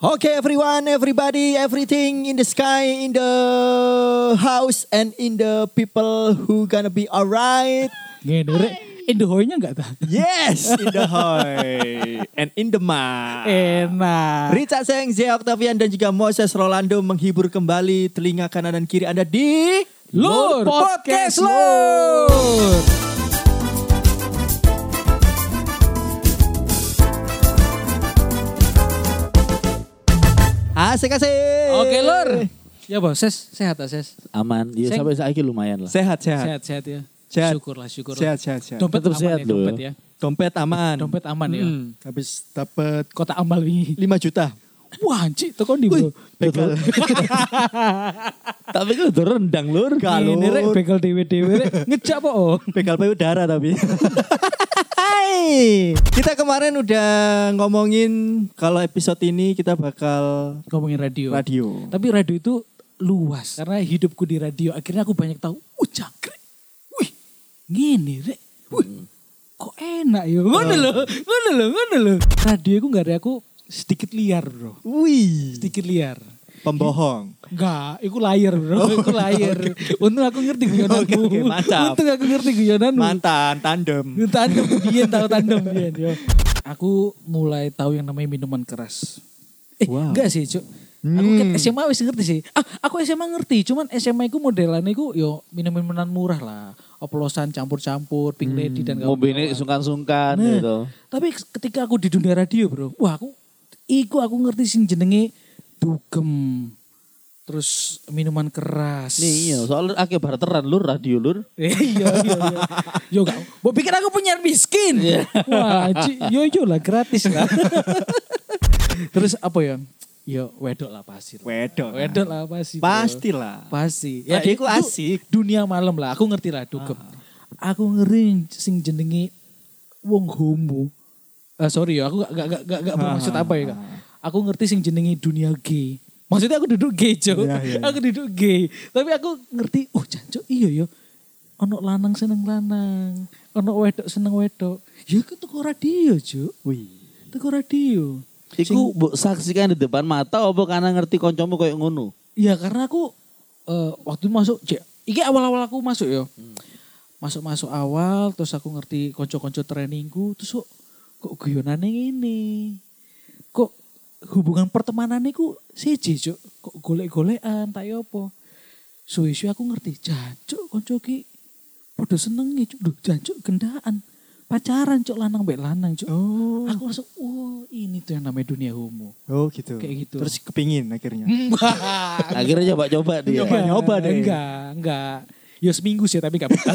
Okay, everyone, everybody, everything in the sky, in the house, and in the people who gonna be alright. Gini, Dure. Indohoy-nya enggak tuh? Yes, in the hoi and in the ma. Enak. Richard Seng, Zia Octavian, dan juga Moses Rolando menghibur kembali telinga kanan dan kiri Anda di Lur Podcast Lur. Lur. Asik asik. Oke, Lur. Ya, Bos, ses sehat ah, ses. aman ya Seng. sampai saat ini lumayan lah Sehat sehat. Sehat, sehat ya. Sehat. Syukurlah, syukurlah. Sehat sehat sehat. Dompet Tetap aman sehat ya, loh. dompet ya. Dompet aman. Dompet aman ya. Hmm, Habis dapat Kota Amal ini. 5 juta. Wah, anjir, teko ndi, Bro? Begal. tapi kan udah rendang lur Galur. Ini rek begal dewe-dewe rek ngejak po. oh. Begal payudara tapi. Hai. Kita kemarin udah ngomongin kalau episode ini kita bakal Ngomongin radio. radio. Tapi radio itu luas karena hidupku di radio akhirnya aku banyak tahu. Uh, jangkrik. Wih, gini rek. Wih, kok enak ya. Ngono lho, ngono lho, ngono lho. Radio aku nggak ada aku sedikit liar, Bro. Wih, Sedikit liar. pembohong. Enggak, iku layar bro, iku layar. Untung aku ngerti guyonanmu. Oke, oke, mantap. Untung aku ngerti guyonanmu. Mantan tandem. Tandem, biyen tahu tandem biyen yo. Aku mulai tahu yang namanya minuman keras. Eh, Wow. enggak sih, Cuk. Aku kan SMA wis ngerti sih. Ah, aku SMA ngerti, cuman SMA iku modelannya iku yo minum-minuman murah lah. Oplosan campur-campur, pink lady dan kawan-kawan. mobil ini sungkan-sungkan Nah, gitu Tapi ketika aku di dunia radio, Bro. Wah, aku iku aku ngerti sing jenenge dugem. Terus minuman keras. nih iya soalnya akhirnya barteran lur radio lur Eh, iya iya iya. Yo gak, mau pikir aku punya miskin. Wah, ci- yo yo lah gratis lah. Terus apa ya? Yo wedok lah pasti. Wedok. Wedok lah pasti. bro. Pastilah. Pasti. Adekku itu asik. Ah. Dunia malam lah, aku ngerti lah dugem. Aku ngeri sing jenenge wong homo. Eh, sorry ya, aku gak, gak, gak, Ah. gak, gak bermaksud apa ya. Kak. Aku ngerti sing jenenge dunia gay. Maksudnya aku duduk gay, Cok. Iya, iya, iya. Aku duduk gay. Tapi aku ngerti, oh jancuk iya ya. Ono lanang seneng lanang. Ono wedok seneng wedok. Ya aku tuku radio, Cok. Wih. Tuku radio. Iku bu, saksikan di depan mata apa karena ngerti koncomu kayak ngono Iya karena aku eh, waktu masuk J- iki awal-awal aku masuk ya. Masuk-masuk awal terus aku ngerti konco-konco trainingku terus kok kok guyonane ini. Kok hubungan pertemanannya ku seje cuk. Kok golek-golekan tak ya apa. Suwe-suwe aku ngerti jancuk konco ki padha senenge cuk. Duh jancuk gendaan. Pacaran cuk lanang mbek lanang cuk. Oh. Aku langsung oh ini tuh yang namanya dunia homo. Oh gitu. Kayak gitu. Terus kepingin akhirnya. akhirnya coba-coba dia Coba. nyoba deh. Enggak, enggak. Ya seminggu sih tapi enggak bakal.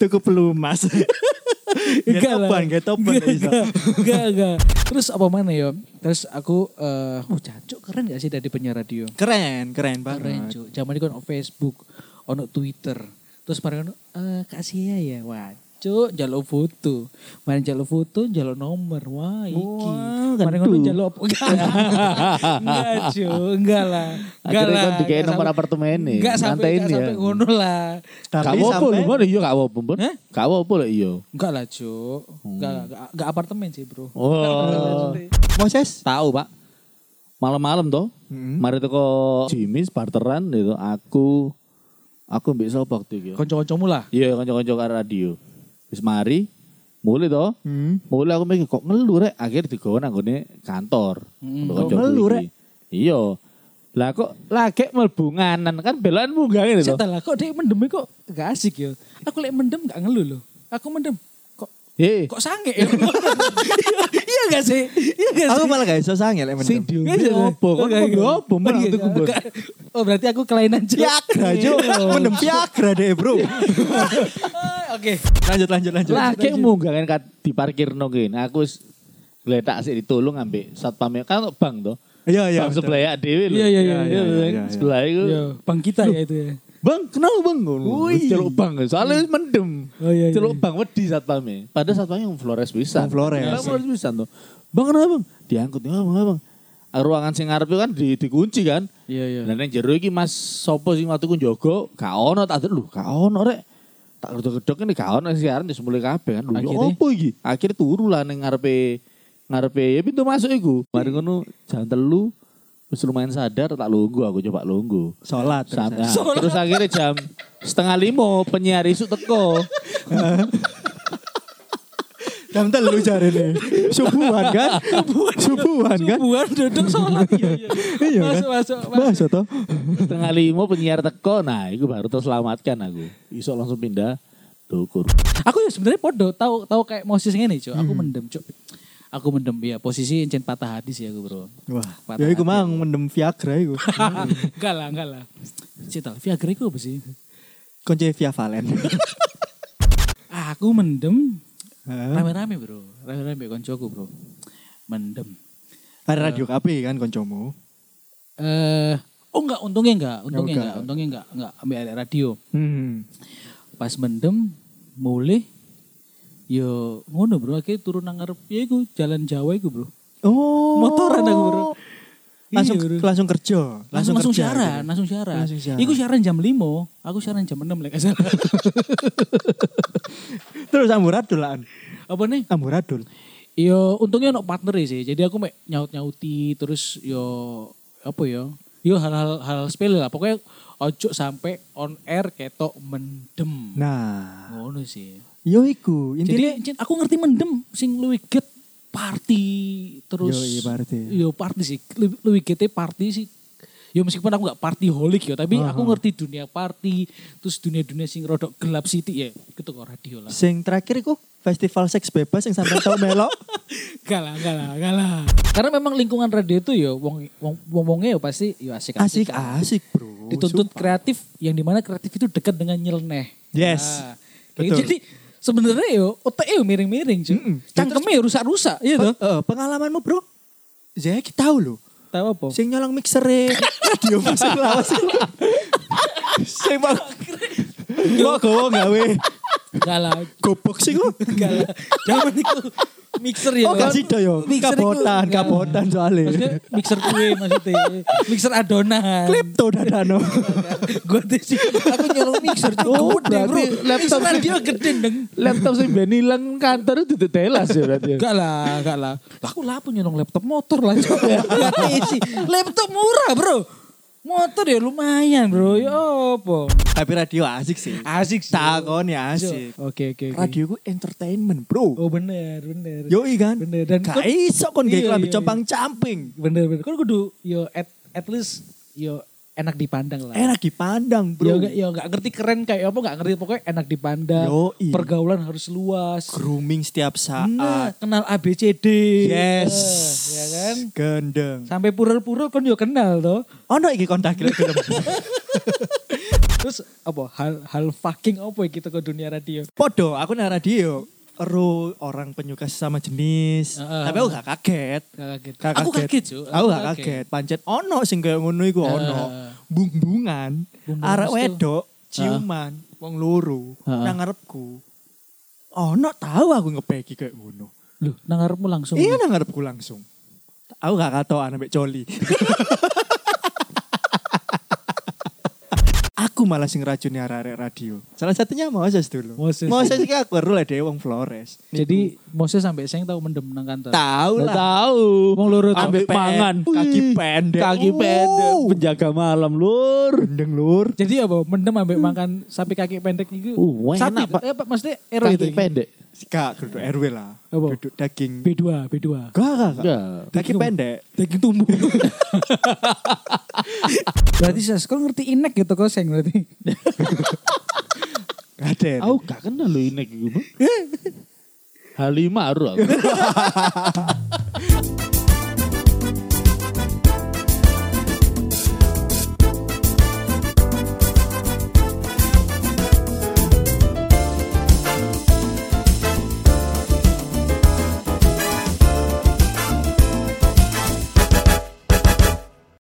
Tuku pelumas. Enggak lah. Getopan, getopan. Enggak, Enggak, enggak. Terus apa mana ya? Terus aku, eh oh jancuk keren gak sih dari penyiar radio? Keren, keren Keren banget. cuk. Zaman itu kan ono Facebook, ono Twitter. Terus mereka ono, eh Kak Sia ya, wah cuk jaluk foto. Mari jaluk foto, jaluk nomor. Wah, iki. Wah, Mari kentu. ngono jaluk apa? Enggak, cuk. Enggak lah. Enggak Akhirnya lah. kan dikei Enggak nomor sampai- apartemennya. Enggak sampai Santain enggak ya. sampai ngono lah. Gak apa-apa lho, Bon. iya gak apa-apa Bon. Hah? Gak apa-apa lho iya. Enggak lah, Cuk. Enggak, enggak, enggak apartemen sih, Bro. Oh. Moses. Tahu pak, malam-malam toh, Mm-mm. mari toko Jimmy barteran gitu, aku, aku mbak sapa waktu itu. Konco-koncomu lah. Iya kanca-kanca karo radio. Wis mari mulai to. Hmm. Mulai aku mikir kok ngelu rek akhir digawa nang nggone kantor. Hmm, Untuk kok kancaku ngelu, iki. Rek? Iya. Lah kok lagi mlebu nganan kan belan munggah ngene to. Setelah lah, kok dia mendem kok enggak asik ya. Aku lek mendem enggak ngeluh loh. Aku mendem kok Hei, kok sange ya. Iya enggak sih? Iya enggak sih? Iya Aku malah gak bisa sange lek sing mendem. diombe opo? Kok ngombe opo malah tuku bon. Oh berarti aku kelainan Cuk. Piagra Cuk. Mendem Piagra deh, Bro. Ah, Oke. Lanjut lanjut lanjut. Lagi munggah kan kat diparkirno kene. Aku wis gletak sik ditulung ambek satpam kan untuk bang to. Iya, iya. Bang betul. sebelah ya dewe lho. Iya, iya, iya, Iya, iya, iya. Sebelah iku. Yo, bang kita ya itu ya. Bang, kenapa bang? Wih. Wih. Celuk bang, soalnya mendem. Oh, iya, iya, Celuk bang, wedi satpamnya. Padahal satpamnya yang Flores bisa. Yang Iya, Flores. Flores bisa tuh. Bang, kenapa bang? Diangkut, kenapa bang? Kenapa, bang? Ah, Ruangan sing ngarep itu kan di, dikunci kan. Iya, iya. Dan yang jero iki Mas Sopo sing waktu ku njogo, gak ono tak delok, gak ono rek. Tak gedok-gedok ini gak ono siaran wis mulai kabeh kan. Lho, ya Akhirnya? opo iki? Akhirnya turu lah ning ngarepe ngarepe ya pintu masuk iku. Mari ngono jam telu wis lumayan sadar tak lungguh aku coba lungguh. Sholat. Sam- nah, terus akhirnya jam setengah lima penyiar isu teko. Jam telu jare nih. Subuhan kan? Subuhan kan? Subuhan duduk sholat. Iya, iya. Iya kan? Masuk, masuk, masuk. Masa toh? setengah lima penyiar teko. Nah, itu baru terselamatkan aku. Iso langsung pindah dukur. Aku ya sebenarnya podo tahu tahu kayak Moses ngene, Cuk. Hmm. Aku mendem, Cuk. Aku mendem ya posisi encen patah hadis ya aku, Bro. Wah, Patah ya iku hati. mang mendem Viagra iku. enggak lah, enggak lah. Cita, Viagra itu apa sih? Konce Via Valen. Aku mendem Hah? rame-rame, Bro. Rame-rame koncoku, Bro. Mendem. Ada radio KP kan koncomu. Eh, oh enggak, untungnya enggak, Ya, untungnya enggak. enggak, untungnya enggak, enggak ambil ada radio. Hmm. Pas mendem mulai yo ngono, Bro. Akhirnya turun nang ngarep ya iku jalan Jawa iku, Bro. Oh. Motoran aku, Bro. Langsung Iya, Bro. langsung kerja, langsung langsung kerja siaran, gitu. langsung siaran. Langsung siaran. Iku siaran jam 5, aku siaran jam 6 lek gak salah. Terus amburadul lah. Apa nih? Amburadul. Yo untungnya ono partner e sih. Jadi aku mek nyaut-nyauti terus yo apa yo? Yo hal-hal hal sepele lah. Pokoknya ojo sampai on air ketok mendem. Nah, Ngono sih. yo iku intinya Jadi Cin, aku ngerti mendem sing luwih get party terus Yo, iya, party. yo party sih Lu- luwih gete party sih yo meskipun aku gak party holic yo tapi aku ngerti dunia party terus dunia-dunia sing rodok gelap sithik ya gitu kok radio lah sing terakhir iku festival seks bebas yang sampai tau melok. gak lah gak lah gak lah karena memang lingkungan radio itu yo wong wong wongnya yo pasti yo asik Asik ah. asik, Bro. dituntut kreatif yang dimana kreatif itu dekat dengan nyeleneh Yes. Nah, kayak Betul. jadi sebenarnya yo otak yo miring-miring cuy Mm-mm. cangkemnya yo rusak-rusak ya toh Pe- eh, pengalamanmu, Bro? Saya tahu loh. tahu apa Sing nyolong mixere. Radio musik lawas. Sing mau Kok gowo gawe Enggak lah, gobok sih kok. enggak lah. Jangan itu mixer ya. Oh, Lon. gak sida yo. Mixer itu- Kabotan, enggak. kabotan soalnya. Maksudnya mixer kue maksudnya. Mixer adonan. Klepto dadano. Gue tuh sih, aku nyolong mixer tuh Oh, gede bro. berarti laptop- Laptop dia gede deng. Laptop sing ben ilang kantor itu telas ya berarti. Enggak lah, enggak lah. Lah, Aku lah pun nyolong laptop motor lah. Gak sih. Laptop murah bro. Motor ya lumayan bro. Ya apa. Tapi radio asik sih. Asik sih. Takon ya asik. Oke, oke, oke. Radio ku entertainment, Bro. Oh bener, bener. Yoi kan? Bener, dan- Gak iso kon gak Iya, kelambi iya, iya. compang camping. bener bener kan kudu yo at, at least yo enak dipandang lah Enak dipandang, Eh, yo Bro. gak yo gak ngerti keren kayak apa gak ngerti pokoknya enak dipandang Yoi. pergaulan harus luas Grooming setiap saat. nah, kenal ABCD Yes. Eh, iya ya kan Gendeng. sampai purul-purul kan yo kenal toh Ono iki kontak gila film. terus apa hal hal fucking apa ya kita ke dunia radio Podo, aku nang radio. Ero orang penyuka sesama jenis. Heeh. Tapi aku gak kaget. Gak kaget. Gak Aku kaget, Cuk. Aku Aku gak kaget. kaget. Pancet ono sing kayak ngono iku ono. Heeh. Bung-bungan. Bung-bungan Arek terus tuh. wedok, ciuman, wong loro Heeh. nang ngarepku. Ono tahu aku ngepeki kayak ngono. lu nang ngarepmu langsung Iya nang ngarepku langsung. Aku gak katoan ambek coli. aku malah sing racuni arek radio. Salah satunya Moses dulu. Moses. Moses iki aku baru lah dhewe wong Flores. jadi Moses sampai saya tahu mendem nang kantor Tahu Nggak lah. tahu. Wong loro tuh. Ambek Ambek pangan. pen- kaki pendek. Kaki pendek. Wow. Penjaga malam lur. Gendeng lur. jadi apa mendem sampai makan sapi kaki pendek itu Uh, wah, sapi enak, Pak. eh, apa maksudnya ero itu Kaki pendek. Kak, duduk RW lah. Apa? Duduk daging. B2 Gak, B2 gak, gak. Enggak. Kaki pendek. daging tumbuh. berarti Sas, kau ngerti inek gitu kau seng berarti. Gak ada. Eh. Aku gak kenal lo ini gitu. Halimah aku.